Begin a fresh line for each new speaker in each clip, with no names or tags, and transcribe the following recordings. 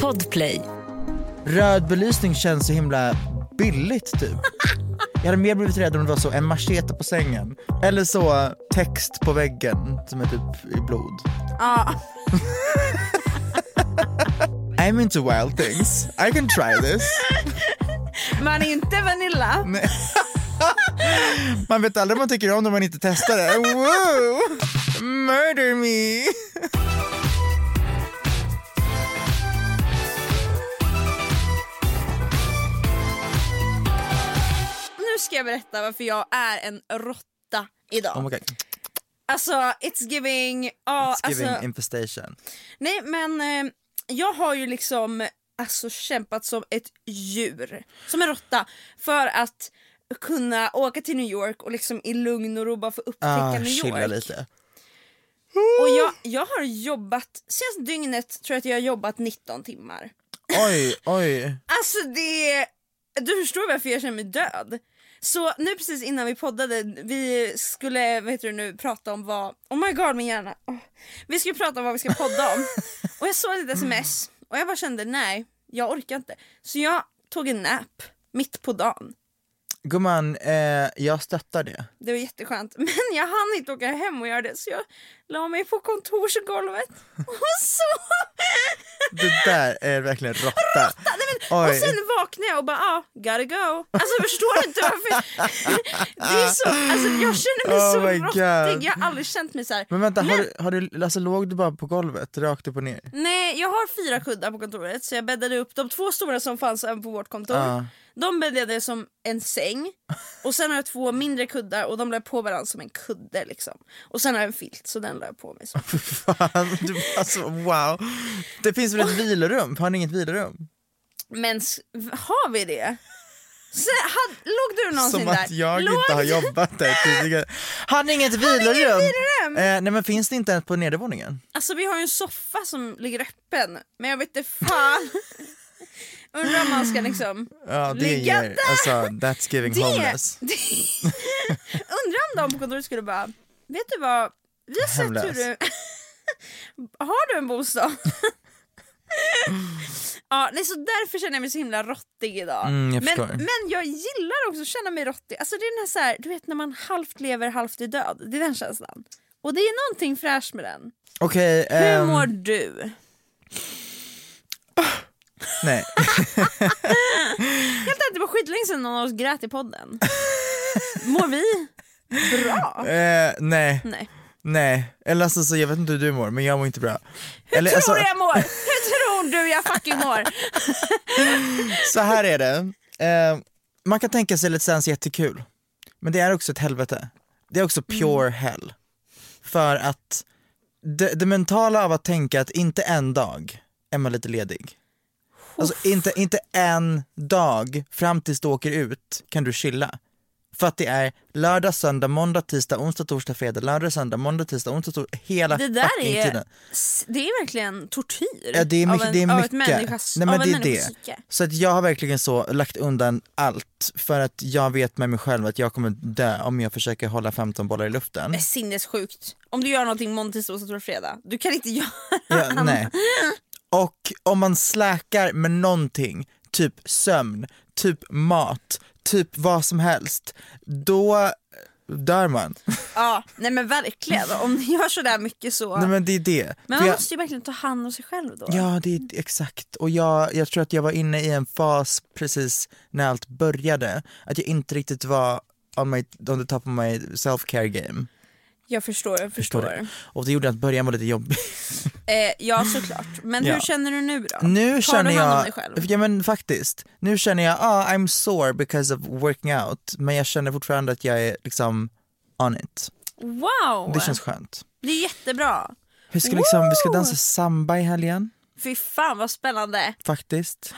Podplay.
Röd belysning känns så himla billigt typ. Jag hade mer blivit rädd om det var så en machete på sängen. Eller så text på väggen som är typ i blod. I'm into wild things. I can try this.
Man är inte Vanilla.
Man vet aldrig vad man tycker om när man inte testar det. Wow! Murder me!
Nu ska jag berätta varför jag är en råtta idag.
Oh my god.
Alltså it's giving, ja
It's giving
alltså,
infestation.
nej men eh, jag har ju liksom alltså kämpat som ett djur, som en råtta för att kunna åka till New York och liksom i lugn och ro bara få upptäcka
Ah,
New
chilla
York.
lite.
Och jag, jag har jobbat, senaste dygnet tror jag att jag har jobbat 19 timmar.
Oj, oj.
Alltså det... Du förstår varför jag känner mig död. Så nu precis innan vi poddade, vi skulle vad heter det nu, prata om vad... Oh my god min hjärna. Åh. Vi skulle prata om vad vi ska podda om. Och jag såg ett sms och jag bara kände nej, jag orkar inte. Så jag tog en nap mitt på dagen.
Gumman, eh, jag stöttar det.
Det var jätteskönt. Men jag hann inte åka hem och göra det så jag la mig på kontorsgolvet och sov.
Det där är verkligen råtta.
Nej, men, och
Oj.
sen vaknade jag och bara ah, gotta go. Alltså förstår du inte varför? det är så, alltså, jag känner mig
Oh
så
my
råttig,
God.
jag har aldrig känt mig så här.
Men vänta, har, du- har du, alltså, låg du bara på golvet rakt upp och ner?
Nej jag har fyra kuddar på kontoret så jag bäddade upp de två stora som fanns även på vårt kontor.
Ja.
De bäddade jag som en säng och sen har jag två mindre kuddar och de la jag på varandra som en kudde liksom. Och sen har jag en filt så den la jag på mig. Så.
Fan, du, alltså, wow. Det finns väl ett vilorum? Har ni inget vilorum?
Men s- har vi det? Sen, had, låg du någonsin
Som
där?
att jag
låg
inte har jobbat där tidigare. Har ni inget vilorum?
vilorum?
Eh, nej men finns det inte ens på nedervåningen?
Alltså vi har ju en soffa som ligger öppen, men jag vet inte fan. Undrar om man ska liksom...
Ja det
Ligga
ger, alltså that's giving homeless.
det, undrar om de på kontoret skulle bara, vet du vad, vi har sett hur du... har du en bostad? ja, nej, så därför känner jag mig så himla rottig idag.
Mm, jag
men,
förstår.
men jag gillar också att känna mig rottig. Alltså det är den här, så här, du vet när man halvt lever, halvt är död. Det är den känslan. Och det är någonting fräscht med den.
Okej,
Hur
ehm,
mår du?
nej.
Helt ärligt, det var skitlänge sedan någon av oss grät i podden. Mår vi? Bra.
Eh, nej.
Nej.
Nej, eller alltså så jag vet inte hur du mår men jag mår inte bra.
Hur
eller,
tror
alltså,
du jag mår? Hur tror du jag fucking mår?
Så här är det, eh, man kan tänka sig lite Let's jättekul, men det är också ett helvete. Det är också
Mm.
pure hell. För att det, det mentala av att tänka att inte en dag är man lite ledig. Alltså inte, inte en dag fram tills du åker ut kan du chilla. För att det är lördag, söndag, måndag, tisdag, onsdag, torsdag, fredag, lördag, söndag, måndag, tisdag, onsdag, torsdag, hela
Det där
fucking
är,
tiden.
s- det är verkligen tortyr
Ja, det är mycket.
av, en,
det är
av
mycket.
ett människas,
Nej, men
av en
det är
människas
det.
psyke.
Så att jag har verkligen så lagt undan allt för att jag vet med mig själv att jag kommer dö om jag försöker hålla 15 bollar i luften.
Det är sinnessjukt. Om du gör någonting måndag, tisdag, onsdag, torsdag, fredag. Du kan inte göra...
Ja, nej. Och om man släkar med någonting, typ sömn, typ mat, typ vad som helst, då dör man.
Ja, nej men verkligen. Om du gör sådär mycket så.
Nej
men
men det är det. För
man
jag-
måste ju verkligen ta hand om sig själv då.
Ja, det är exakt. Och jag, jag tror att jag var inne i en fas precis när allt började, att jag inte riktigt var on, my, on the top of my self-care game.
Jag förstår, jag förstår.
det. Och det gjorde att början var lite jobbig.
Eh, ja såklart. Men
Ja.
hur känner du nu då?
Nu
Tar
känner
du
jag,
hand om dig själv?
ja men faktiskt, nu känner jag, ah I'm sore because of working out, men jag känner fortfarande att jag är liksom on it.
Wow!
Det känns skönt.
Det är jättebra.
Vi ska liksom, vi ska dansa samba i helgen,
Fy fan vad spännande.
faktiskt.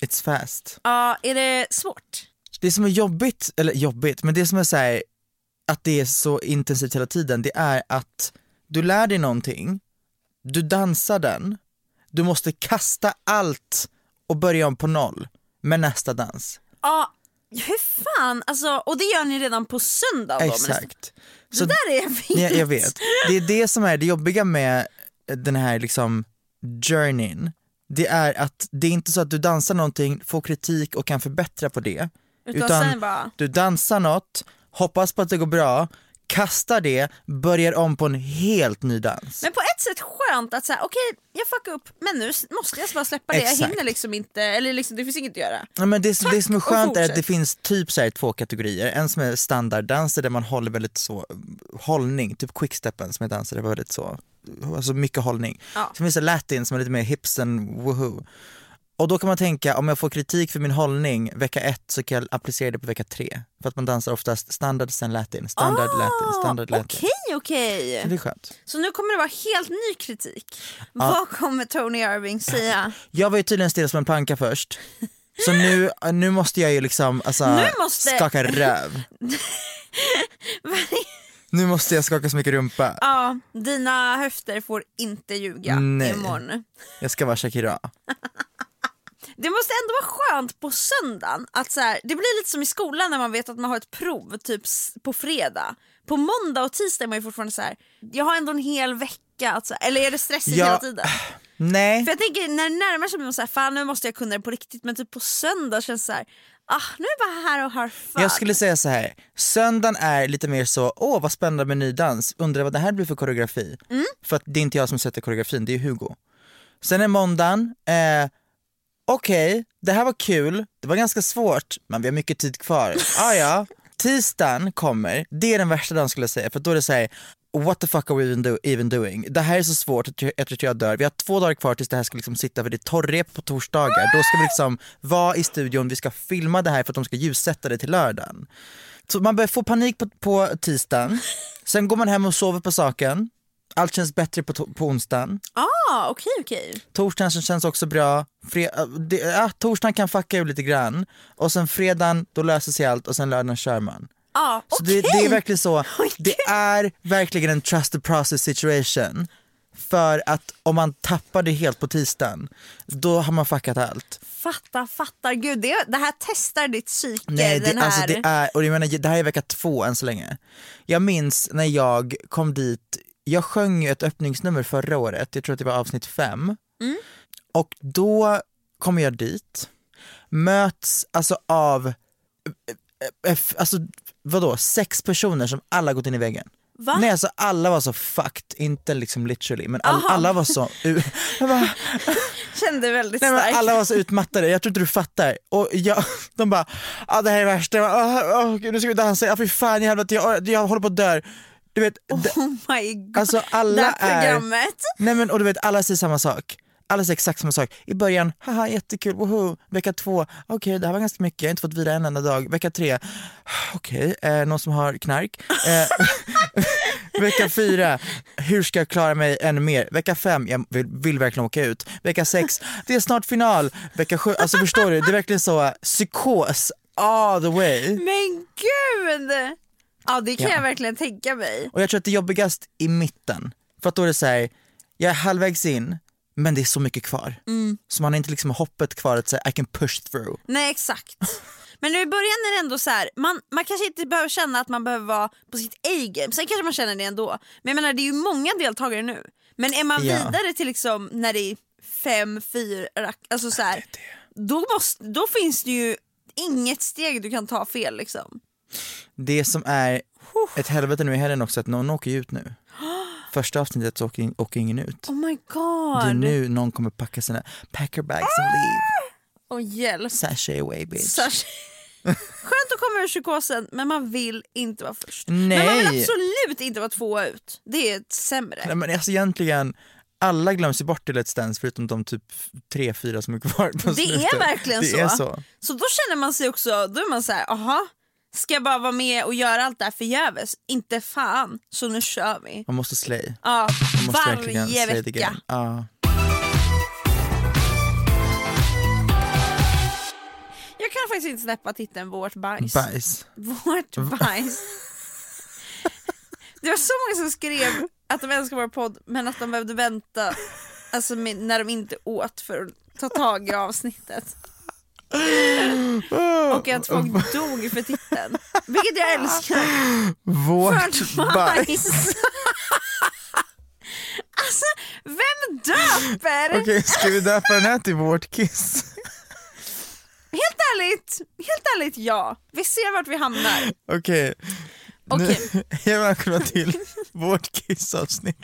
It's fast.
Ja, är det svårt?
Det som är jobbigt, eller jobbigt, men det som är så här, att det är så intensivt hela tiden, det är att du lär dig någonting, du dansar den, du måste kasta allt och börja om på noll med nästa dans.
Ja, hur fan? Alltså, och det gör ni redan på söndag då? men
Exakt.
Det där är fint.
Ja, jag vet. Det är det som är det jobbiga med den här liksom journeyn. Det är att det är inte så att du dansar någonting, får kritik och kan förbättra på det.
Utan sen bara-
du dansar något, hoppas på att det går bra, kastar det, börjar om på en helt ny dans.
Men på ett sätt skönt att säga okej jag fuckar upp men nu s- måste jag bara släppa det, jag
Exakt.
hinner liksom inte, eller liksom, det finns inget att göra.
Ja, men det, som- det som är
Tack, och
skönt är att
fortsätt.
det finns typ så här två kategorier. En som är standarddanser där man håller väldigt så hållning, typ quicksteppen som är danser där var väldigt så, alltså mycket hållning. Sen finns det latin som är lite mer hips and woohoo. Och då kan man tänka om jag får kritik för min hållning vecka ett så kan jag applicera det på vecka tre. För att man dansar oftast standard sen latin, standard latin, standard
Ah,
latin.
Okej okej.
Så det är skönt.
Så nu kommer det vara helt ny kritik. Vad kommer Tony Irving säga?
Jag var ju tydligen still som en planka först. Så nu, nu måste jag ju liksom alltså,
Nu måste-
skaka röv. nu måste jag skaka så mycket rumpa.
Ja, dina höfter får inte ljuga
Nej.
imorgon.
Jag ska vara Shakira.
Det måste ändå vara skönt på söndagen att så här, det blir lite som i skolan när man vet att man har ett prov typ s- på fredag. På måndag och tisdag är man ju fortfarande så här, jag har ändå en hel vecka att så här, eller är det stressigt
Ja.
hela tiden?
Nej,
För jag tänker när det närmar sig blir man så här, fan nu måste jag kunna det på riktigt men typ på söndag känns det så här, ah nu är jag bara här och har fun.
jag skulle säga så här. Söndagen är lite mer så, åh vad spännande med ny dans, undrar vad det här blir för koreografi.
Mm.
För att det är inte jag som sätter koreografin, det är Hugo. Sen är måndagen, eh, okej, det här var kul, det var ganska svårt, men vi har mycket tid kvar. Ah, ja. Tisdagen kommer, det är den värsta dagen skulle jag säga, för då är det såhär, what the fuck are we even, do- even doing? Det här är så svårt att jag, jag tror att jag dör. Vi har två dagar kvar tills det här ska liksom sitta, för det är torrep på torsdagar. Då ska vi liksom vara i studion, vi ska filma det här för att de ska ljussätta det till lördagen. Så man börjar få panik på, på tisdagen, sen går man hem och sover på saken, allt känns bättre på, to- på onsdagen.
ah, okej okej.
Torsdagen så känns också bra. Fre- äh, det, ja, torsdagen kan fucka ur lite grann. Och sen fredagen, då löser sig allt och sen lördagen kör man.
Ah,
Så det, det är verkligen så.
Oj,
Det är verkligen en trust the process situation. För att om man tappar det helt på tisdagen, då har man fuckat allt.
Fattar, fattar. Gud, det, det här testar ditt psyke.
Nej, det,
den här...
alltså det är, och jag menar, det här är vecka två än så länge. Jag minns när jag kom dit, jag sjöng ju ett öppningsnummer förra året, jag tror att det var avsnitt fem.
Mm.
Och då kommer jag dit, möts alltså av, eh, eh, alltså vadå, sex personer som alla gått in i väggen.
Va?
Nej alltså alla var så fucked, inte liksom literally men all,
Aha.
alla var så u- jag bara,
Kände väldigt
nej, men
starkt.
alla var så utmattade, jag tror inte du fattar. Och jag, de bara, ah, det här är värst, jag bara, "Åh, åh, gud, nu ska vi dansa, ja, fy fan jävlar, jag, jag håller på att dö. Du vet, d-
Oh my god.
Alltså, alla
det här
är-
programmet.
Nej men och du vet alla säger samma sak. Alla säger exakt samma sak. I början, haha jättekul, woho. Vecka två, okej det här var ganska mycket, jag har inte fått vila en enda dag. Vecka tre, okej, eh, någon som har knark. Eh, vecka fyra, hur ska jag klara mig ännu mer? Vecka fem, jag vill, vill verkligen åka ut. Vecka sex, det är snart final. Vecka sju, alltså förstår du, det är verkligen så eh, psykos all the way.
Men gud! Ja det kan
Ja.
jag verkligen tänka mig.
Och jag tror att det är jobbigast i mitten. För att då är det så här, jag är halvvägs in men det är så mycket kvar.
Mm.
Så man har inte liksom hoppet kvar att säga I can push through.
Nej exakt. Men nu i början är det ändå så här, man, man kanske inte behöver känna att man behöver vara på sitt A-game, sen kanske man känner det ändå. Men jag menar det är ju många deltagare nu. Men är man
Ja.
vidare till liksom när det är fem, fyra, alltså så här, då, måste, då finns det ju inget steg du kan ta fel liksom.
Det som är ett helvete nu i helgen också är att någon åker ju ut nu. Första avsnittet så åker, in, åker ingen ut.
Oh my
Det är
god. Ah!
nu någon kommer packa sina packer bags and leave.
Åh hjälp.
Sashay away bitch.
Särskilt. Skönt att komma ur psykosen men man vill inte vara först. Men man vill
Nej.
absolut inte vara tvåa ut. Det är ett sämre.
Nej, men alltså egentligen, alla glöms ju bort i Let's Dance förutom de typ tre, fyra som är kvar på
Det är
slutet.
verkligen
alltså, det
så.
Är så.
Så då känner man sig också, då är man så här, aha, ska jag bara vara med och göra allt det här förgäves? Inte fan, så nu kör vi.
Man måste slay.
Ja,
Man måste verkligen
varje
slay the game.
vecka.
Ja.
Jag kan faktiskt inte släppa titeln Vårt bajs.
Bajs.
Vårt bajs. Det var så många som skrev att de älskar vår podd men att de behövde vänta alltså, med, när de inte åt för att ta tag i avsnittet. Och att folk dog för titeln. Vilket jag älskar.
Vårt
Vårt
bajs.
bajs. alltså, vem döper?
Okej, ska vi döpa den här till vårt kiss?
Helt ärligt, helt ärligt ja. Vi ser vart vi hamnar.
Okej.
Okej.
Nu- Hej och välkomna till vårt kissavsnitt.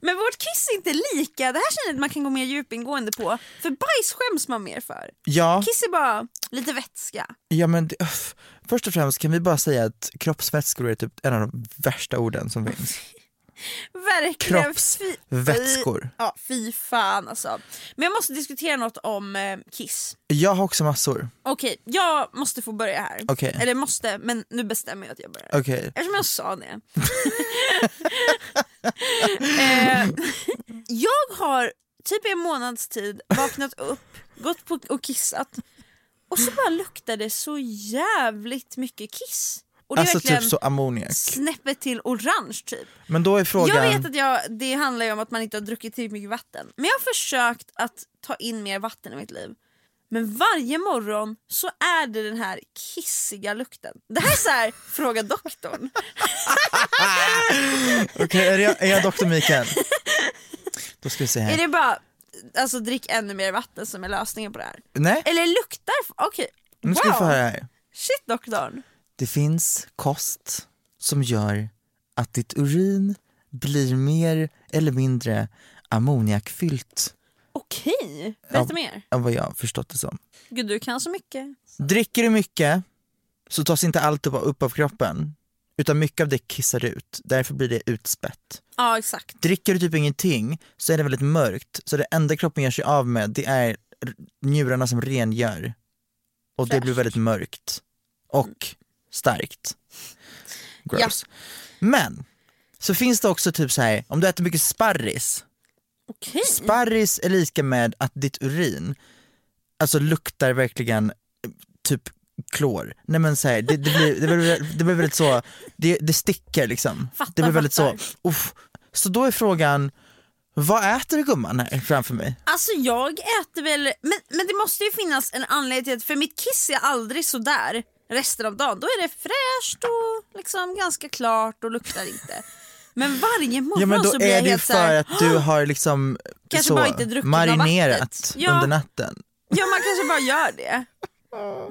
Men vårt kiss är inte lika. Det här känner jag att man kan gå mer djupingående på. För bajs skäms man mer för.
Ja,
Kiss är bara lite vätska.
ja men det, öff. först och främst kan vi bara säga att kroppsvätskor är typ en av de värsta orden som finns.
Verkligen. fy-
Kroppsvätskor.
Ja, fy fan alltså. Men jag måste diskutera något om eh, kiss.
Jag har också massor.
Okej, jag måste få börja här.
Okej.
Eller måste, men nu bestämmer jag att jag börjar.
Okej.
Eftersom jag sa det. eh, jag har typ i en månads tid vaknat upp, gått på och kissat och så bara luktar det så jävligt mycket kiss. Och det är
Alltså
verkligen
typ så ammoniak.
snäppet till orange typ.
Men då är frågan,
Jag vet att jag, det handlar ju om att man inte har druckit tillräckligt mycket vatten. Men jag har försökt att ta in mer vatten i mitt liv. Men varje morgon så är det den här kissiga lukten. Det här är så här, fråga doktorn.
Okej, är, jag, är jag doktor Mikael? Då ska vi se här.
Är det bara alltså drick ännu mer vatten som är lösningen på det här?
Nej,
Eller luktar... Okej.
nu ska vi få
Wow.
höra här.
Shit doktorn.
Det finns kost som gör att ditt urin blir mer eller mindre ammoniakfyllt
Okej, berätta
Ja.
mer.
än vad jag har förstått det som.
Gud du kan så mycket.
Dricker du mycket så tas inte allt upp- upp av kroppen utan mycket av det kissar ut, därför blir det utspätt.
Ja exakt.
Dricker du typ ingenting så är det väldigt mörkt så det enda kroppen gör sig av med det är r- njurarna som rengör och det blir väldigt mörkt och starkt. Gross. Men så finns det också typ så här, om du äter mycket sparris,
Okej.
sparris är lika med att ditt urin alltså luktar verkligen eh, typ klor. Nej men så här, det, det, blir, det, blir, det blir väldigt så, det, det sticker liksom.
Fattar,
det blir väldigt
fattar.
så, uff. Så då är frågan, vad äter du gumman här framför mig?
Alltså jag äter väl, men, men det måste ju finnas en anledning till att för mitt kiss är aldrig så där resten av dagen. Då är det fräscht och liksom ganska klart och luktar inte. Men varje morgon
Ja men då
så blir
är
jag
det ju
helt så
för
här,
att du har liksom
Kanske
så,
bara inte druckit något
marinerat
vattnet. Ja.
under natten.
ja man kanske bara gör det.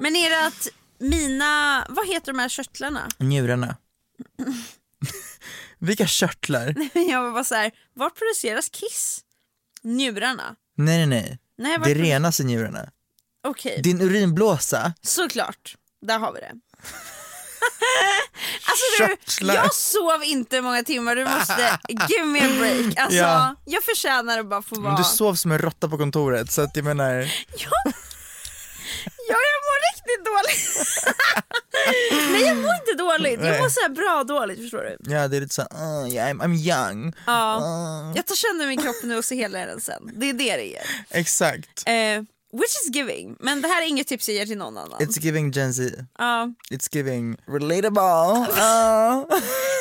Men är det att mina, vad heter de här körtlarna?
Njurarna. Vilka körtlar?
Men jag var bara så här, vart produceras kiss? Njurarna?
Nej nej nej.
Nej, vart
Det
produ-
renas i njurarna.
Okej,
Din urinblåsa,
såklart. Där har vi det. alltså du,
Körtlar.
jag sov inte många timmar, du måste give me a break. Alltså,
Ja.
Jag förtjänar att bara få vara...
men du sov som en råtta på kontoret så att jag menar,
Ja, jag mår riktigt dåligt. Nej, jag mår inte dåligt. Jag mår så här bra dåligt, förstår du.
ja det är lite såhär, uh, yeah, I'm, I'm young.
Ja. Jag tar sönder min kropp nu och så hela den sen. Det är det det ger.
Exakt.
Eh, which is giving. Men det här är inget tips jag ger till någon annan.
It's giving Gen Z.
Ja.
It's giving relatable. Ah.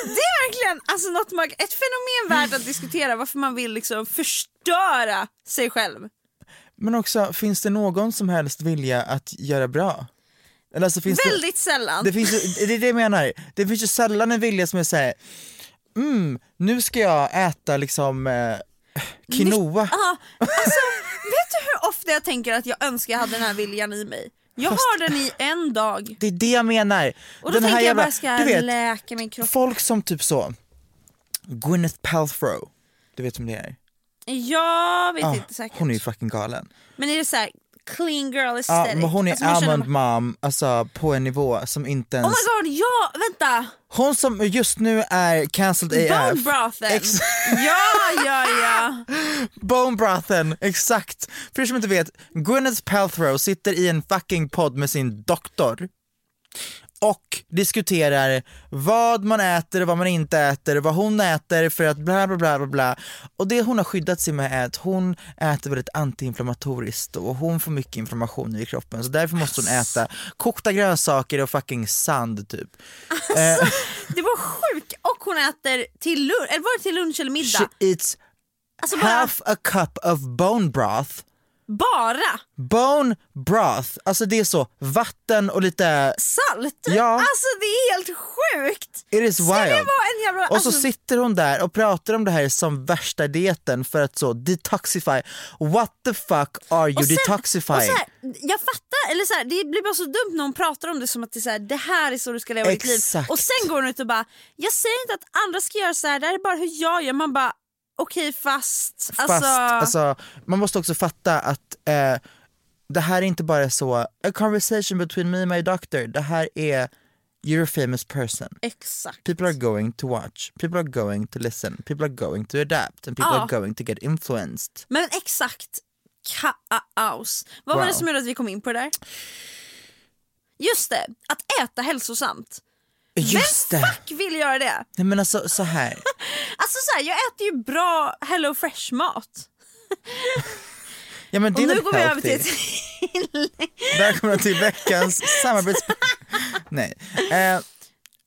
Det är verkligen alltså, något mag- ett fenomen värt att diskutera varför man vill liksom förstöra sig själv.
Men också, finns det någon som helst vilja att göra bra? Eller alltså, finns det-
Väldigt sällan.
Det, finns, ju- det är det jag menar. Det finns ju sällan en vilja som är såhär, mm, nu ska jag äta liksom eh, quinoa.
Ja, alltså, vet du hur ofta jag tänker att jag önskar jag hade den här viljan i mig? Jag har den i en dag.
Det är det jag menar.
Och då tänker jag bara, ska
du
jag
vet,
läka min kropp?
folk som typ så, Gwyneth Paltrow, du vet vem det är?
Jag vet
Ah,
inte säkert.
hon är ju fucking galen.
Men är det så här clean girl
Ja,
aesthetic?
men hon är
Alltså, man känner
almond mom, alltså på en nivå som inte
bara,
ens...
Oh my god, ja vänta!
hon som just nu är cancelled AF.
Bone brothen!
Ex-
ja, ja, ja.
Bone brothen, exakt! För er som inte vet, Gwyneth Paltrow sitter i en fucking podd med sin doktor och diskuterar vad man äter och vad man inte äter, vad hon äter för att bla bla bla bla bla. Och det hon har skyddat sig med är att hon äter väldigt antiinflammatoriskt och hon får mycket inflammation i kroppen så därför måste hon äta kokta grönsaker och fucking sand typ.
Det var sjukt! Och hon äter till lunch, eller var det till lunch eller middag?
She eats
Alltså bara,
half a cup of bone broth
bara
Bone broth, alltså det är så, vatten och lite,
salt!
Ja.
Alltså det är helt sjukt!
it is
Ska det
wild.
vara en jävla...
Och så
alltså,
sitter hon där och pratar om det här som värsta dieten för att så detoxify. What the fuck are you
och sen- och
detoxifying?
så här, jag fattar, eller så här, det blir bara så dumt när hon pratar om det som att det är så här, det här är så du ska leva ditt liv.
Exakt.
Och sen går hon ut och bara, jag säger inte att andra ska göra så här, det här är bara hur jag gör. Man bara, okej fast.
Fast alltså, man måste också fatta att eh, det här är inte bara så, a conversation between me and my doctor, det här är, you're a famous person.
Exakt.
People are going to watch, people are going to listen, people are going to adapt and people
Ja.
are going to get influenced.
Men exakt kaos. Vad var
Wow.
det som gjorde att vi kom in på det där? Just det, att äta hälsosamt.
Just
Vem
det!
fuck vill göra det?
Nej men alltså så här.
Alltså så här, jag äter ju bra hello fresh mat.
Ja, men det
Och
är
nu
väl
går vi över till
healthy.
ett
Välkomna till veckans samarbets... Nej. Eh,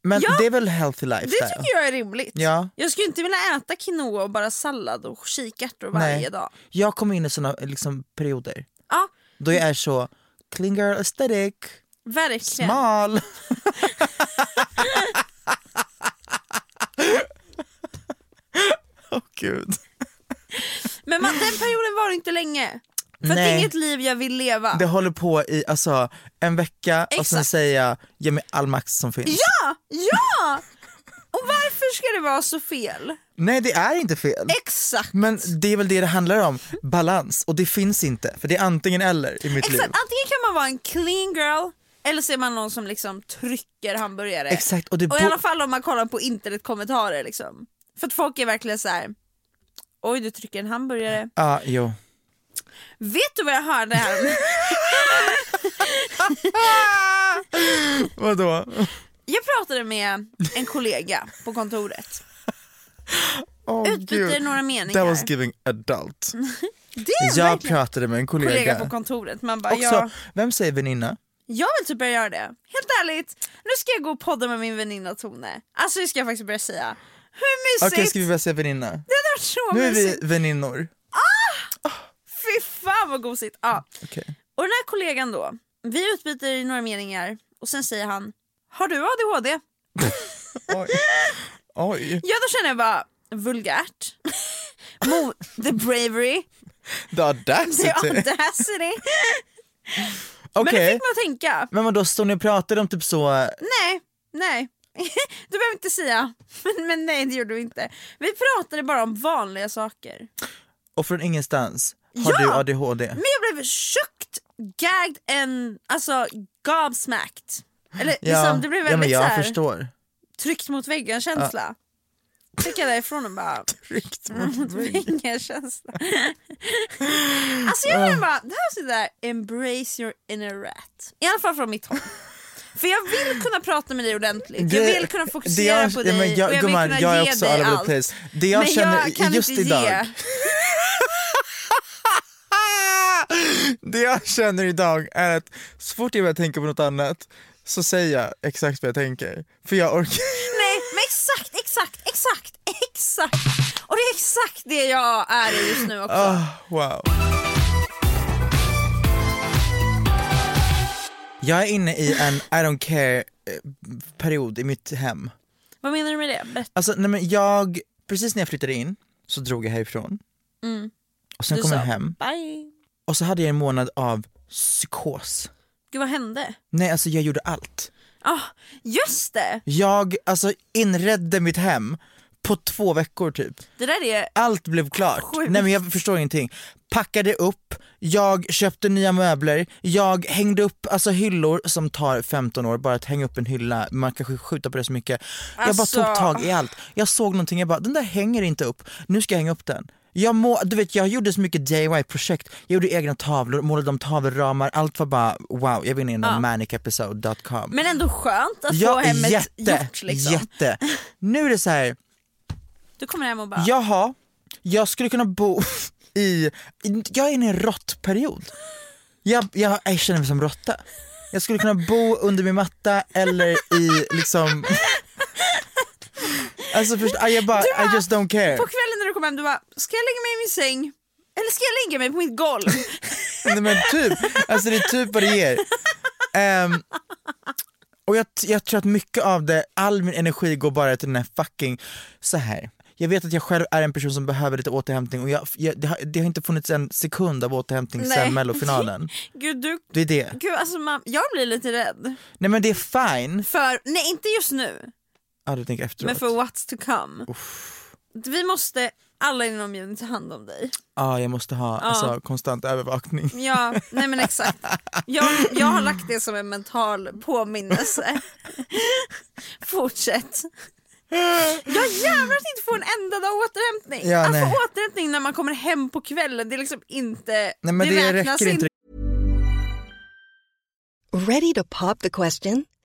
men
Ja,
det är väl healthy life
Det tycker jag är rimligt.
Ja.
Jag skulle inte vilja äta quinoa och bara sallad och kikärtor varje
Nej.
dag.
Jag kommer in i såna liksom, perioder
Ja,
då jag är så clean girl aesthetic,
verkligen.
mal. Åh gud.
Men man, den perioden var det inte länge. För det är
Nej.
inget liv jag vill leva.
Det håller på i alltså, en vecka och sen
Exakt.
säger jag ge mig all max som finns.
Ja, ja! Och varför ska det vara så fel?
Nej det är inte fel.
Exakt.
Men det är väl det det handlar om, balans. Och det finns inte, för det är antingen eller i mitt
Exakt.
liv.
Antingen kan man vara en clean girl eller så är man någon som liksom trycker hamburgare.
Exakt, och det
Och i
bo-
alla fall om man kollar på internetkommentarer liksom. För att folk är verkligen så här. Oj, du trycker en hamburgare.
Ja, jo.
Vet du vad jag hörde här?
Vadå?
Jag pratade med en kollega på kontoret.
Oh,
Utbyter några meningar.
That was giving adult.
Det är
Jag
verkligen
pratade med en kollega.
kollega på kontoret. Man bara,
Också,
ja,
vem säger väninna?
jag vill typ börja göra det. Helt ärligt, nu ska jag gå och podda med min väninna Tone. Alltså det ska jag faktiskt börja säga. Hur
Okej,
mysigt!
ska vi börja säga väninna?
Det hade varit så
Nu är vi
mysigt.
väninnor.
Fy fan vad gosigt. Ja.
Okej.
Och den här kollegan då, vi utbyter några meningar och sen säger han, har du ADHD?
Oj. Oj.
Ja då känner jag bara, vulgärt. Mo- the bravery,
The
the
audacity.
audacity. Men det
Okej.
fick mig att tänka.
Men vadå, står ni och pratar om typ så...
Nej, nej. Du behöver inte säga, men, men nej det gjorde du inte. Vi pratade bara om vanliga saker.
Och från ingenstans har
Ja!
du ADHD.
Men jag blev tjuckt gagged and alltså gobsmacked. Eller liksom, det blev
ja,
väldigt
men
så
jag
här,
förstår.
tryckt mot väggen känsla. Fick jag därifrån och bara tryckt mot väggen känsla. alltså jag menar bara, det här är sådär embrace your inner rat. I alla fall från mitt håll. För jag vill kunna prata med dig ordentligt, jag
Det-
vill kunna
det
fokusera
jag-
på
ja,
dig
men jag-
och jag vill
gumman,
kunna
jag är
ge
också all
dig
over the
allt.
place. Det jag känner
kan
just
inte
idag-
Ge.
Det jag känner idag är att så fort jag börjar tänka på något annat så säger jag exakt vad jag tänker. För jag orkar.
Nej, men exakt, exakt, exakt, exakt. Och det är exakt det jag är i just nu också.
Ah. Wow. Jag är inne i en I don't care eh, period i mitt hem.
Vad menar du med det? Berätta.
Alltså nej men jag, precis när jag flyttade in så drog jag härifrån. Och sen
Mm. Du
kom
sa
jag hem
bye.
och så hade jag en månad av psykos.
Gud, vad hände?
Nej alltså jag gjorde allt.
Ah, just det!
Jag alltså inredde mitt hem på två veckor typ.
Det där är...
Allt blev klart.
Sjukt.
Nej men jag förstår ingenting. Packade upp, jag köpte nya möbler, jag hängde upp alltså hyllor som tar 15 år bara att hänga upp en hylla, man kanske skjuta på det så mycket. Jag bara
Alltså.
tog tag i allt. Jag såg någonting, jag bara den där hänger inte upp, nu ska jag hänga upp den. Jag, må, du vet, jag gjorde så mycket DIY-projekt, jag gjorde egna tavlor, målade om tavelramar, allt var bara wow, jag var inne i någon manicepisode.com.
Men ändå skönt att få
Ja,
hemmet
jätte,
gjort liksom.
jätte. Nu är det så här.
Du kommer hem och bara...
Jaha, jag skulle kunna bo i... Jag är inne i en råttperiod. Jag, jag, jag känner mig som råtta. Jag skulle kunna bo under min matta eller i liksom... Alltså först, ah, jag bara, I just don't care.
På kvällen när du kommer hem du bara, ska jag lägga mig i min säng? Eller ska jag lägga mig på mitt golv?
Nej, men typ, alltså det är typ vad det ger. Ehm, och jag, jag tror att mycket av det, all min energi går bara till den här fucking, så här. Jag vet att jag själv är en person som behöver lite återhämtning och jag, jag, det, har, det har inte funnits en sekund av återhämtning
Nej.
sen mellofinalen.
Gud, du...
Det är det.
Gud, alltså man... jag blir lite rädd.
Nej men det är fine.
För, nej inte just nu,
Ja du tänker efteråt.
men för what's to come. Vi måste alla inom unit ta hand om dig.
Ja jag måste ha alltså, konstant övervakning.
Ja, nej men exakt. Jag, jag har lagt det som en mental påminnelse. Fortsätt. Jag jävlar att inte få en enda dag återhämtning.
Ja,
att
nej.
få återhämtning när man kommer hem på kvällen, det är liksom inte...
Nej men det,
räknas
räcker inte.
Ready to pop the question?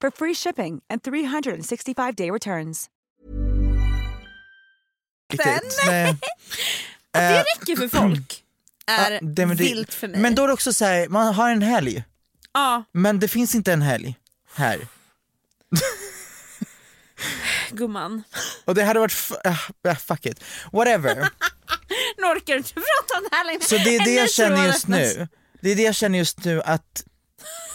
for free shipping and 365-day returns.
Riktigt. Nej.
Det
Eh,
räcker för folk. Är
ja, det- men det-
vilt för mig.
Men då är det också så här, man har en helg.
Ja,
Men det finns inte en helg här.
gumman.
Och det hade varit, f- äh, äh, fuck it, whatever.
Nu orkar du inte prata om det här längre.
Så det är det
Eller
jag känner
tror
just
att-
nu. Det är det jag känner just nu att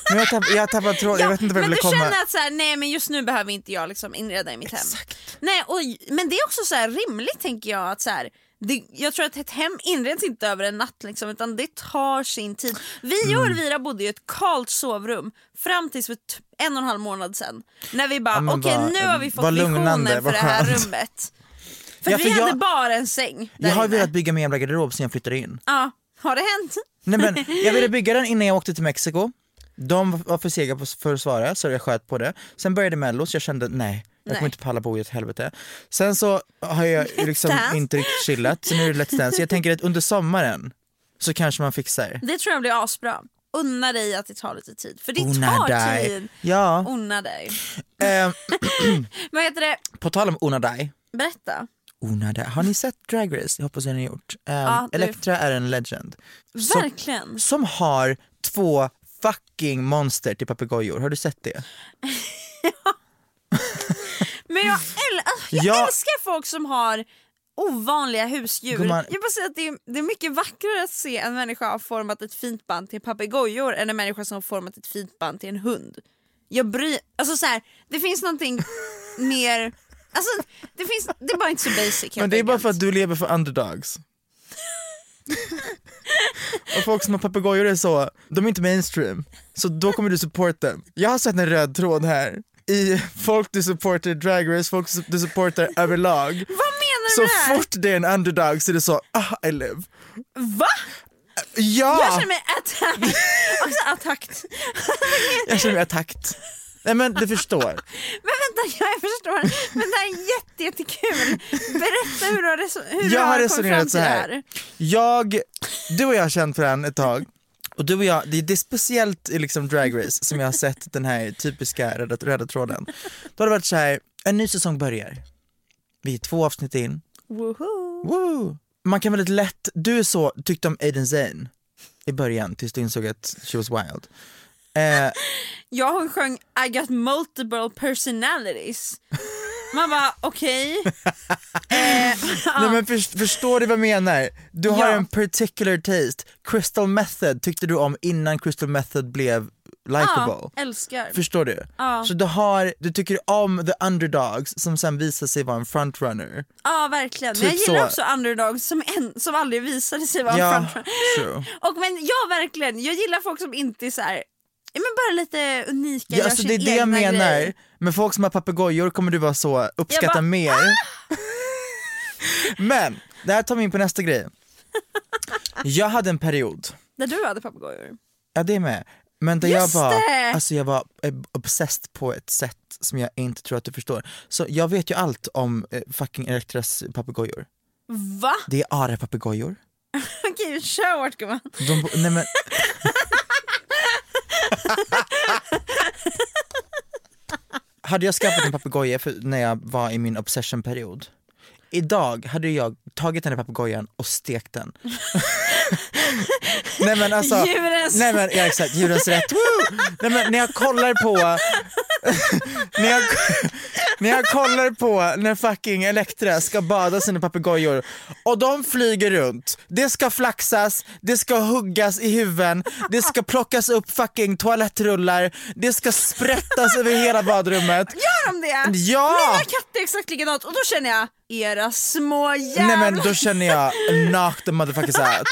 Men jag tapp- jag tappade tråden, jag vet inte var jag
men
ville
du
komma.
känner att så här, nej men just nu behöver inte jag liksom inreda i mitt hem. Nej, och, men det är också så här rimligt tänker jag att så här, det, jag tror att ett hem inreds inte över en natt liksom, utan det tar sin tid. Vi
Mm.
och Elvira bodde i ett kalt sovrum fram tills för t- en och en halv månad sedan. När vi bara,
Ja, men
okej
vad-
nu har vi fått
vad
visionen
lugnande,
för
vad
det här
skönt."
rummet. För
Ja,
vi
för jag-
hade bara en säng där
Jag har ju
inne.
velat bygga min jävla garderob sen jag flyttade in.
Ja, har det hänt?
Nej men jag ville bygga den innan jag åkte till Mexiko. De var för sega på- för att svara så jag sköt på det. Sen började mello så jag kände nej, jag
Nej.
kommer inte palla bo i ett helvete. Sen så har jag liksom
Dance.
inte riktigt chillat, så nu är det Let's Dance. Jag tänker att under sommaren så kanske man fixar.
Det tror jag blir asbra. Unna dig att det tar lite tid. För det
Unna
tar
dig.
tid.
Ja.
Unna dig.
Eh,
Vad heter det?
på tal om onadai.
Berätta.
Onadai. Har ni sett Drag Race? Jag hoppas att ni har gjort. Eh,
Ja, det-
Elektra är en legend. Som-
Verkligen.
Som har två fucking monster till papegojor. Har du sett det?
Men jag, äl- alltså, jag
Ja.
älskar folk som har ovanliga husdjur.
Gumman.
Jag bara säger att det är, det är mycket vackrare att se en människa ha format ett fint band till en papegojor än en människa som har format ett fint band till en hund. Jag bryr alltså så här, det finns någonting mer, alltså det finns, det är bara inte så basic helt
Men det är bara
enkelt.
för att du lever för underdogs. och folk som har papegojor är så, de är inte mainstream. Så då kommer du support dem. Jag har sett en röd tråd här. I folk du supportar i Drag Race, folk du supportar överlag.
Vad menar du
Så
med det här?
fort det är en underdog så är det så, ah I live.
Va? Jag
Ja!
känner mig attacked. Också attacked.
Jag känner mig attackt. Nej men du förstår.
Men vänta, jag förstår. Men det här är jätte, jättekul. Berätta hur du har, reso- hur du
jag har
kommit fram till
resonerat så
det
här.
här.
Jag, du och jag har känt varandra ett tag. Och du och jag, det, det är speciellt i liksom Drag Race som jag har sett den här typiska röda, röda tråden. Då har det varit så här, en ny säsong börjar. Vi är två avsnitt in.
Woho.
Woo! Man kan väldigt lätt, du är så, tyckte om Aiden Zane i början tills du insåg att she was wild. Eh,
Ja, hon sjöng I got multiple personalities. Man bara okej. Eh,
Nej men för, förstår du vad jag menar? Du har
Ja.
en particular taste. Crystal Method tyckte du om innan Crystal Method blev likable.
ja, älskar.
Förstår du?
Ja.
Så du, har, du tycker om the underdogs som sen visar sig vara en frontrunner.
Ja, verkligen.
Typ
men jag gillar
så.
också underdogs som, en, som aldrig visade sig vara
Ja,
en frontrunner.
true.
Och men ja, verkligen. Jag gillar folk som inte är så här, ja, men bara lite unika,
Ja,
gör
alltså,
sin
det är det jag
egna
menar.
grej.
Med folk som har papegojor kommer du vara så, uppskatta
Jag bara, "Ah!"
mer. Men, det här tar mig in på nästa grej. Jag hade en period,
Där du hade papegojor.
ja det är med, men där
Just
jag var,
det!
alltså jag var eh, obsessed på ett sätt som jag inte tror att du förstår. Så jag vet ju allt om eh, fucking Elektras papegojor.
Va?
Det är ara-papegojor.
Okej, kör hårt gumman.
De, bo- nej men... hade jag skaffat en papegoja för- när jag var i min obsession-period, idag hade jag tagit den här papegojan och stekt den. nej men alltså,
Djurens-
nej men, ja, exakt, djurens rätt. Woo! Nej men när jag kollar på, när, jag, när jag kollar på när fucking Elektra ska bada sina papegojor och de flyger runt, det ska flaxas, det ska huggas i huven, det ska plockas upp fucking toalettrullar, det ska sprättas över hela badrummet.
Gör de det?
Ja!
Mina katter är exakt likadant och då känner jag, era små jävlar.
Nej men då känner jag knock the motherfuckers out.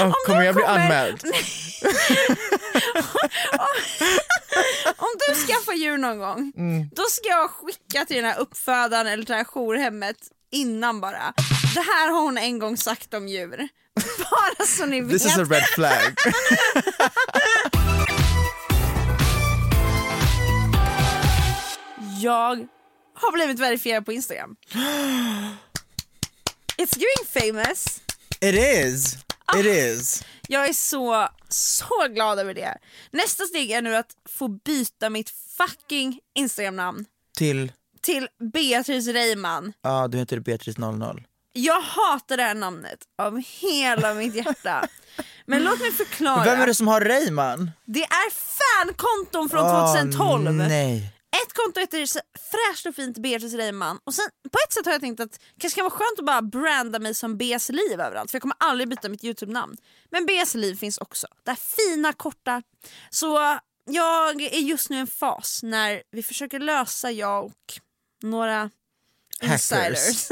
Oh, kommer jag bli
kommer-
anmäld?
Om du skaffar djur någon gång,
Mm.
då ska jag skicka till den här uppfödaren eller till det här jourhemmet innan bara. Det här har hon en gång sagt om djur. Bara så ni vet.
This is a red flag.
Jag har blivit verifierad på Instagram. It's getting famous.
It is.
Ah.
It is.
Jag är så, så glad över det. Nästa steg är nu att få byta mitt fucking Instagram-namn
Till,
till Beatrice Reimann.
ja du heter Beatrice 00.
Jag hatar det här namnet av hela mitt hjärta. Men låt mig förklara.
Vem är det som har Reimann?
Det är fankonton från
Åh,
2012.
nej.
Ett konto heter så- fräscht och fint Beatrice Reimann och sen på ett sätt har jag tänkt att det kanske kan vara skönt att bara branda mig som BS Liv överallt för jag kommer aldrig byta mitt Youtube-namn. Men BS Liv finns också, det här fina korta. Så jag är just nu i en fas när vi försöker lösa jag och några insiders.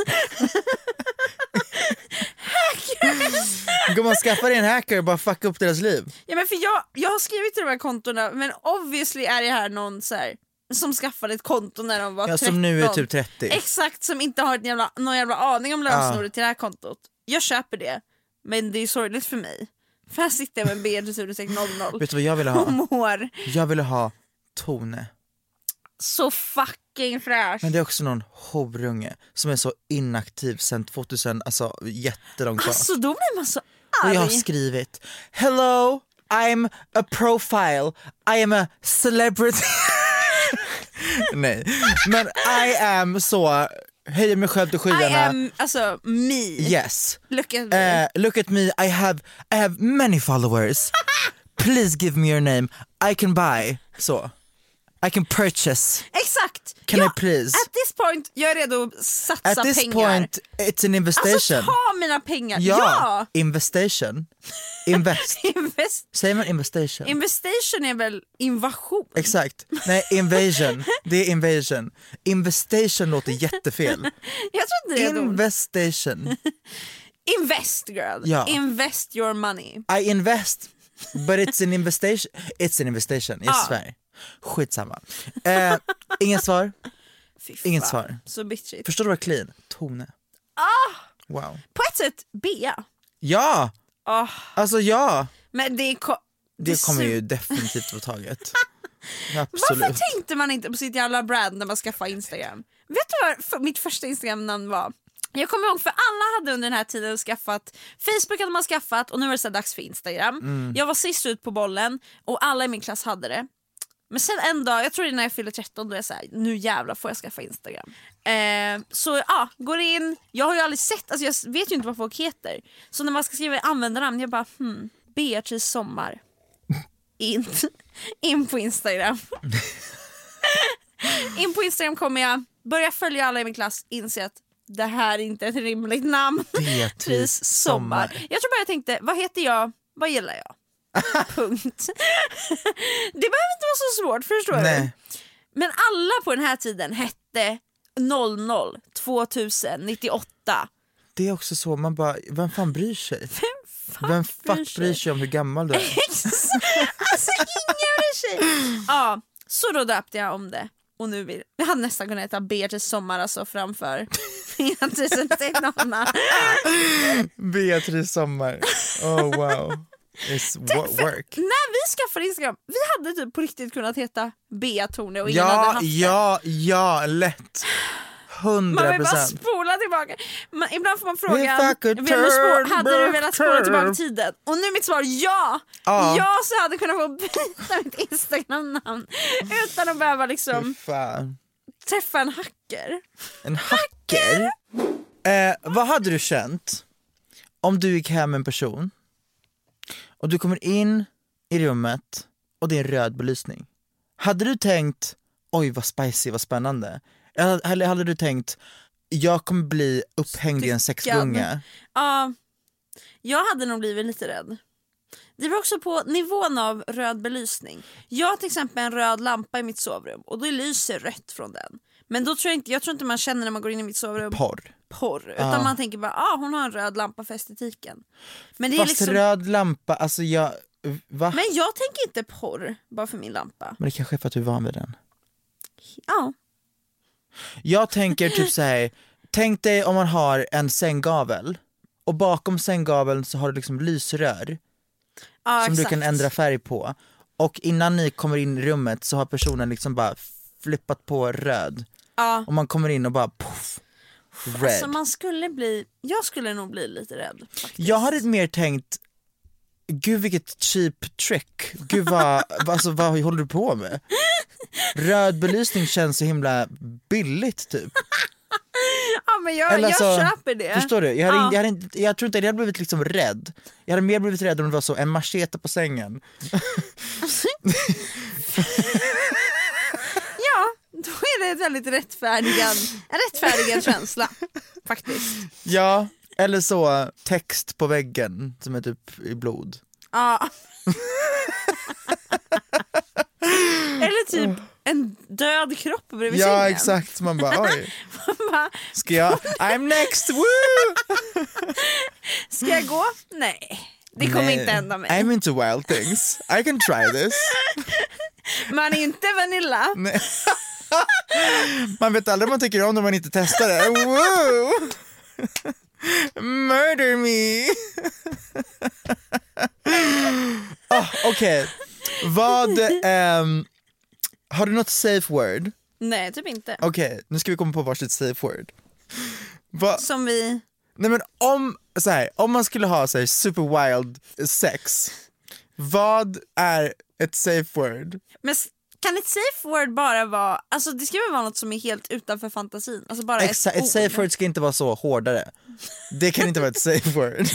Gumman skaffa dig en hacker och bara fucka upp deras liv.
Ja, men för jag, jag har skrivit till de här kontona men obviously är det här någon så här, som skaffade ett konto när de var
Ja,
13.
som nu är typ 30.
Exakt, som inte har ett jävla, någon jävla aning om lösenordet till det här kontot. Jag köper det, men det är sorgligt för mig. För här sitter jag med Beatrice understreck 00
Vet du vad jag ville
och
ha?
mår
Jag ville ha Tone.
så fucking fräsch.
Men det är också någon horunge som är så inaktiv sen 2000, alltså jättelångt bak.
Alltså då blir man så
Och
arg.
jag har skrivit Hello, I'm a profile, I am a celebrity. Nej, men I am så, höjer mig själv till
I
skyarna.
am alltså me.
Yes.
Look at me.
Eh, look at me, I have, I have many followers. Please give me your name, I can buy. Så. I can purchase.
Exakt!
Can
jag,
I please?
At this point, jag är redo att satsa
At this
pengar.
point it's an
Alltså
investation.
ta mina pengar!
ja.
ja.
Investation. Invest.
Invest-
Säger man investation?
Investation är väl invasion?
Exakt. Nej, invasion. Det är invasion. Investation låter jättefel.
Jag tror inte det är In-
Investation.
Invest girl,
Ja.
invest your money.
I invest, but it's an investation. It's an investation, jag
Ja.
svär. Skitsamma. Eh, inget svar?
Fy
Inget
fan,
svar.
Så bitchigt.
Förstår du vad clean? Tone.
Ah!
Wow.
På ett sätt bea.
Ja!
Ah,
Alltså ja!
Men det är ko-
Det kommer
su-
ju definitivt vara taget.
Varför
Absolut.
tänkte man inte på sitt jävla brand när man skaffade Instagram? Vet du vad f- mitt första Instagram-namn var? Jag kommer ihåg för alla hade under den här tiden skaffat Facebook hade man skaffat och nu var det så här dags för Instagram. Jag var sist ut på bollen och alla i min klass hade det. Men sen en dag, jag tror det är när jag fyller 13, då är jag så här, nu jävlar får jag skaffa Instagram. Eh, så ja, går in, jag har ju aldrig sett, alltså jag vet ju inte vad folk heter. Så när man ska skriva användarnamn, jag bara hmm, Beatrice Sommar. In, in på Instagram. in på Instagram kommer jag, börjar följa alla i min klass, inser att det här är inte ett rimligt namn.
Beatrice
Sommar.
Sommar.
Jag tror bara jag tänkte, vad heter jag, vad gillar jag? Punkt. det behöver inte vara så svårt, förstår du?
Nej.
Men alla på den här tiden hette 00, 2000, 98.
Det är också så, man bara, vem fan bryr sig?
Fuck,
Vem fuck bryr sig om hur gammal du är?
alltså ingen bryr sig. Ja, så då döpte jag om det. Och nu vill, jag hade nästan kunnat heta Beatrice Sommar alltså framför Beatrice Tegnonna.
Beatrice Sommar. Oh wow. It's wo- work.
När vi skaffade Instagram, vi hade typ på riktigt kunnat heta Bea Thorne och ingen hade
Ja,
haft det.
ja, ja, lätt.
Man
Hundra
vill bara
procent.
spola tillbaka. Man, ibland får man
If
frågan,
I could
vill du
turn
spå- hade du
back
velat spola tillbaka
time.
tiden? Och nu är mitt svar ja!
Ja.
Jag så hade kunnat få byta mitt Instagram-namn utan att behöva liksom
Fan.
träffa en hacker.
En hacker? Eh, vad hade du känt om du gick hem med en person och du kommer in i rummet och det är röd belysning? Hade du tänkt oj vad spicy, vad spännande? Eller eller hade du tänkt jag kommer bli upphängd i en sexgunga?
Ja, jag hade nog blivit lite rädd. Det var också på nivån av röd belysning. Jag har till exempel en röd lampa i mitt sovrum och det lyser rött från den. Men då tror jag, inte, jag tror inte man känner när man går in i mitt sovrum
Porr.
porr utan
Ja.
man tänker bara ah, hon har en röd lampa för estetiken. Men, det är
Fast
liksom,
röd lampa, alltså jag, va?
men jag tänker inte porr bara för min lampa.
Men det kanske är för att du är van vid den.
Ja.
Jag tänker typ så här. tänk dig om man har en sänggavel och bakom sänggaveln så har du liksom lysrör
Ja,
som
Ah, exakt.
du kan ändra färg på och innan ni kommer in i rummet så har personen liksom bara flippat på röd
Ja.
och man kommer in och bara poff, red.
Alltså man skulle bli, jag skulle nog bli lite rädd. faktiskt.
Jag hade mer tänkt, gud vilket cheap trick, gud vad, vad- alltså, vad håller du på med? Röd belysning känns så himla billigt typ.
Ja men jag,
Eller
jag
alltså,
köper det.
Förstår du? Jag, hade,
Ja.
inte- jag, hade, inte- jag tror inte jag hade blivit liksom rädd. Jag hade mer blivit rädd om det var så en machete på sängen.
Ja, Då är det ett väldigt rättfärdigad, en rättfärdigad känsla faktiskt.
Ja, eller så text på väggen som är typ i blod.
Ja. Eller typ en död kropp bredvid sängen.
Ja exakt, man bara oj,
Man bara,
ska jag, I'm next, woo!
Ska jag gå? Nej, det kommer
Nej,
inte hända mig.
I'm into wild things, I can try this.
Man är inte Vanilla.
Nej. Man vet aldrig vad man tycker om när man inte testar det. Woo! Murder me! Ah, Okej, vad... ehm, har du något safe word?
Nej, typ inte.
Okej, nu ska vi komma på varsitt safe word. Va,
Som vi...
nej men om, så här, om man skulle ha så här, super wild sex, vad är ett safe word?
Men s- kan ett safe word bara vara... Alltså det ska väl vara något som är helt utanför fantasin? Alltså bara
Exa-
ett,
ett safe word ska inte vara så hårdare. Det kan inte vara ett safe word.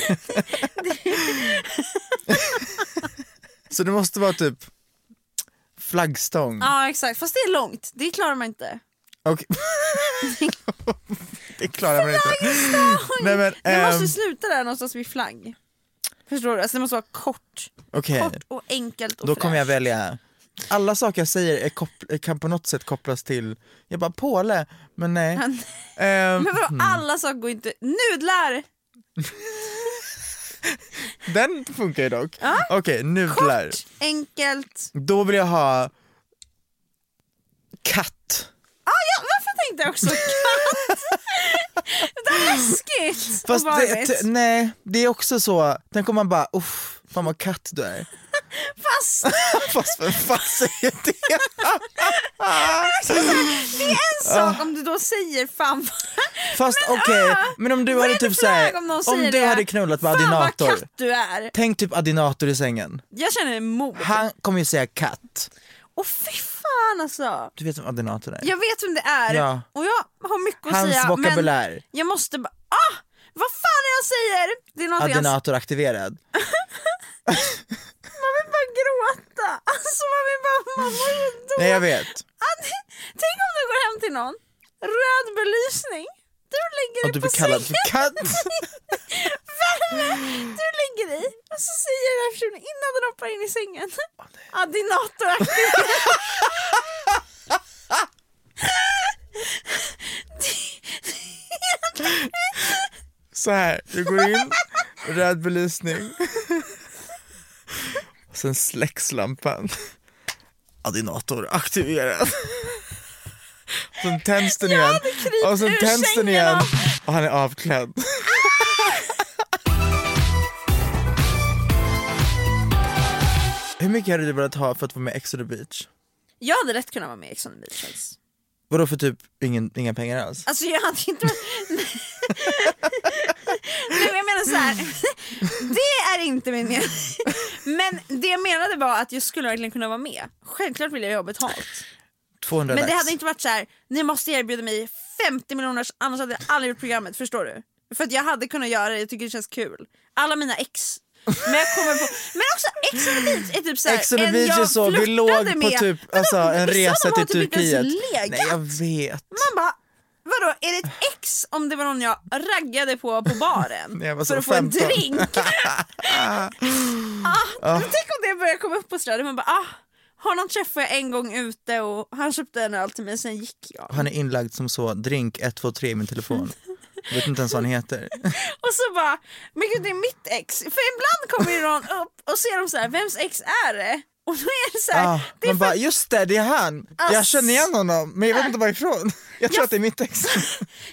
så det måste vara typ flaggstång.
Ja exakt, fast det är långt. Det klarar man inte.
Okej. det klarar man inte. Nej, men,
det måste
ehm,
ju sluta där någonstans vid flagg. Förstår du? Alltså det måste vara kort.
Okej,
Kort och enkelt och
Eh, då kommer jag
fräscht.
välja. Alla saker jag säger är koppl- kan på något sätt kopplas till, jag bara påle, men nej.
Men
Ehm,
vadå alla saker går inte... Nudlar!
den funkar ju dock. Okej, nudlar.
Kort, enkelt.
Då vill jag ha katt.
Ah, Ja, varför tänkte jag också katt? det är läskigt
Fast
och
det,
barnigt.
t- nej, det är också så, den kommer man bara uff, fan vad katt du är.
Fast
Fast vem fan säger det?
det är en
Ah.
sak om du då säger fan vad-
Fast okej, men om du
ah! vad
hade
är det
typ
för
såhär,
lag om någon
om
säger
du
det?
hade knullat med
fan vad
Adinator,
katt du är.
tänk typ Adinator i sängen.
Jag känner emot.
Han kommer ju säga katt.
Och fy fan alltså.
Du vet vem Adinator är?
Jag vet vem det är
Ja.
och jag har mycket att
Hans
säga
vokabulär.
men jag måste bara, ah! Vad fan är jag säger? Det är något jag man
Adinator aktiverad.
vill bara gråta. Alltså man vill bara, man mår så dåligt.
Nej jag vet.
Ah, det- Tänk om du går hem till någon, röd belysning, du lägger
Och du
dig på
blir kallad för
sängen.
katt.
Värme! Du lägger dig och så säger den här personen innan den hoppar in i sängen. Ja, din dator är aktiverad.
Så här, du går in, röd belysning. Och sen släcks lampan. Adinator aktiverad. Sen tänds den igen. Och sen
ur
tänds den
sängen
igen.
och-
Och han är avklädd. Hur mycket hade du velat ha för att vara med i Ex on the beach?
Jag hade rätt kunnat vara med i Ex on the beach faktiskt.
Vadå för typ ingen, inga pengar alls?
Alltså jag hade inte varit... Nej men jag menar så här. det är inte min mening. Men det jag menade var att jag skulle verkligen kunna vara med. Självklart vill jag jobba betalt.
200
Men det
lax.
hade inte varit så här. ni måste erbjuda mig 50 miljoner annars hade jag aldrig gjort programmet, förstår du? För att jag hade kunnat göra det, jag tycker det känns kul. Alla mina ex. Men jag kommer på, men också Ex on the beach är typ såhär,
Ex on the beach är så, vi låg på typ alltså, en resa till
typ
Turkiet.
Nej,
Nej jag vet.
Man bara, vadå är det ett ex om det var någon jag raggade på på baren
När jag var
för
så
att få en
15.
drink? ah, men Tänk om det börjar komma upp på stranden, man bara ah, honom träffade jag en gång ute och han köpte en öl till mig sen gick jag.
Han är inlagd som så, drink 123 i min telefon. Jag vet inte ens vad han heter.
Och så bara, men gud det är mitt ex. För ibland kommer ju någon upp och ser de så här, vems ex är det? Och då är det så här,
Ah,
det är
man
för
bara, just det, det är han! Jag
Ass-
känner igen honom, men jag vet inte varifrån. Jag tror att det är mitt ex.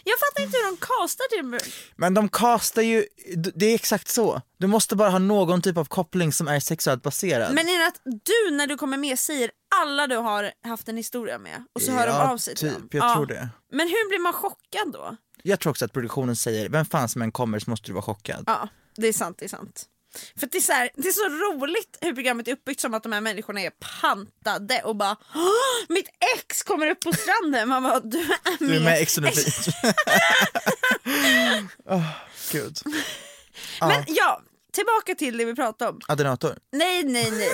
jag fattar inte hur de castar till
Men de castar ju, d- det är exakt så. Du måste bara ha någon typ av koppling som är sexuellt baserad.
Men är det att du när du kommer med säger alla du har haft en historia med och så hör de
Ja,
av sig till
typ.
dem?
Jag tror det.
Men hur blir man chockad då?
Jag tror också att produktionen säger, vem fan som än kommer så måste du vara chockad.
Ja, det är sant, det är sant. För att det, är så här, det är så roligt hur programmet är uppbyggt som att de här människorna är pantade och bara "Åh, mitt ex kommer upp på stranden. Man bara, du är med.
Du är med i Ex on the beach. Åh, Ah, Gud.
Men ja, tillbaka till det vi pratade om.
Adinator.
Nej, nej, nej.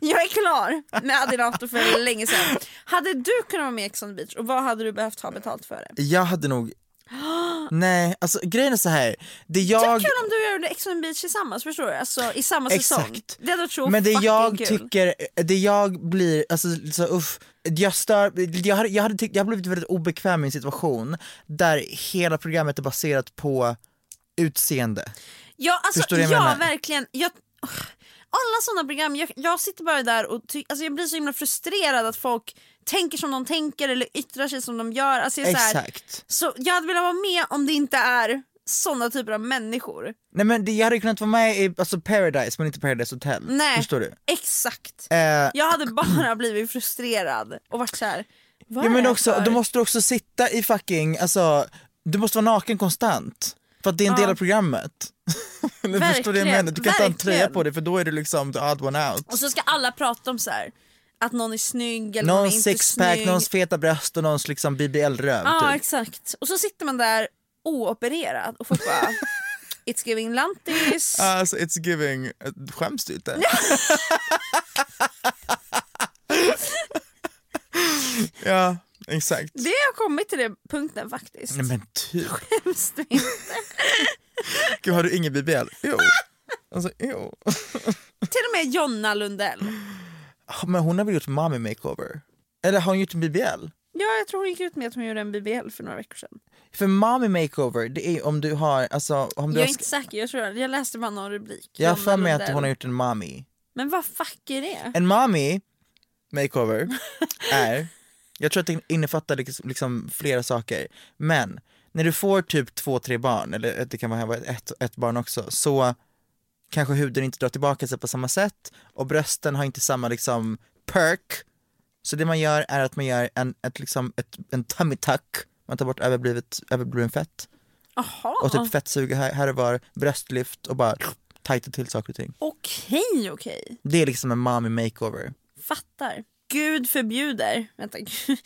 Jag är klar med Adinato för länge sedan. Hade du kunnat vara med i Ex on the beach och vad hade du behövt ha betalt för det?
Jag hade nog... Nej, alltså grejen är så här. Det
Det
jag...
är kul om du gör Ex on the beach tillsammans förstår du? Alltså i samma säsong.
Exakt.
Det hade varit så
Men det
fucking
jag
kul.
tycker, det jag blir, alltså så, uff, jag stör, jag hade, jag, hade tyckt, jag hade blivit väldigt obekväm i en situation där hela programmet är baserat på utseende.
Ja, alltså
Förstår du
jag,
vad jag menar?
verkligen. Jag, alla sådana program, jag, jag sitter bara där och ty, alltså jag blir så himla frustrerad att folk tänker som de tänker eller yttrar sig som de gör. Alltså jag, är så, här,
Exakt.
så jag hade velat vara med om det inte är sådana typer av människor.
Nej men det, jag hade kunnat vara med i alltså Paradise men inte Paradise Hotel.
Nej.
Förstår du?
Exakt.
Eh,
Jag hade bara blivit frustrerad och varit så här. Vad
ja
är
men
det
också,
för-
du måste också sitta i fucking, alltså du måste vara naken konstant. För att det är en
Ja.
del av programmet. Men förstår du vad jag
Verkligen,
menar? Du kan inte ha en tröja
verkligen.
på dig för då är du liksom the odd one out.
Och så ska alla prata om så här att någon är snygg eller någon är
Någons
inte
sexpack,
snygg.
någons feta bröst och någons liksom BBL-röv
Ja
typ.
exakt. Och så sitter man där oopererad och folk bara It's giving lantis.
Alltså it's giving, skäms du inte? ja, exakt.
Det har kommit till den punkten faktiskt.
Nej men typ,
Hemskt inte.
gud har du ingen BBL? Jo. Alltså jo.
till och med Jonna Lundell.
Ah, Men hon har väl gjort mommy makeover? Eller har hon gjort en BBL?
Ja jag tror hon gick ut med att hon gjorde en BBL för några veckor sedan.
För mommy makeover det är om du har, alltså om du
Jag är
har
inte säker, jag tror jag läste bara någon rubrik.
jag har
Jonna
för mig att
Lundell.
hon har gjort en mommy.
Men vad fuck är det?
En mommy makeover är, jag tror att det innefattar liksom, liksom flera saker, men när du får typ två, tre barn, eller att det kan vara ett, ett barn också, så kanske huden inte drar tillbaka sig på samma sätt och brösten har inte samma liksom perk. Så det man gör är att man gör en, ett, liksom, ett, en tummy tuck, man tar bort överblivet, överbliven fett
Jaha.
och typ fettsuga här, här och var, bröstlyft och bara tajta till saker och ting.
Okej okej.
Det är liksom en mommy makeover.
Fattar. Gud förbjuder. Vänta. gud.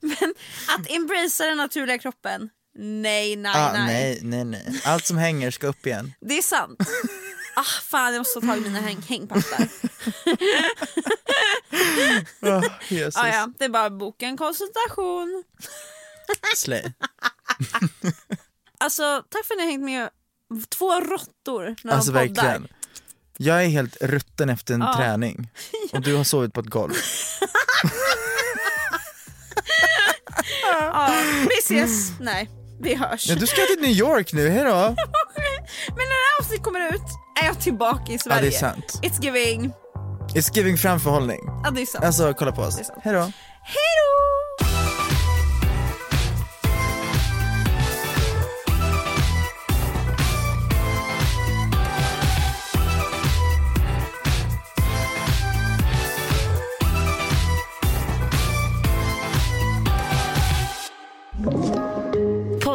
Men att embracea den naturliga kroppen. Nej, nej,
ah,
nej.
nej, nej, nej. Allt som hänger ska upp igen.
Det är sant. Ah, fan, jag måste ta tag i mina häng hängpattar.
Oh, Jesus.
ah, ja. Det är bara att boka en konsultation.
Slay.
Alltså, tack för att ni har hängt med två råttor när
Alltså
de poddar. Ah.
verkligen. Jag är helt rutten efter en
Ja.
träning och du har sovit på ett golv.
Ja, vi ses. Nej, vi hörs.
Mm. Ja, du ska till New York nu, hejdå!
Men när det här avsnittet kommer ut är jag tillbaka i Sverige.
Ja, det är sant.
It's giving.
It's giving framförhållning.
Ja, det är sant.
Alltså kolla på oss. Hejdå!
Hej då!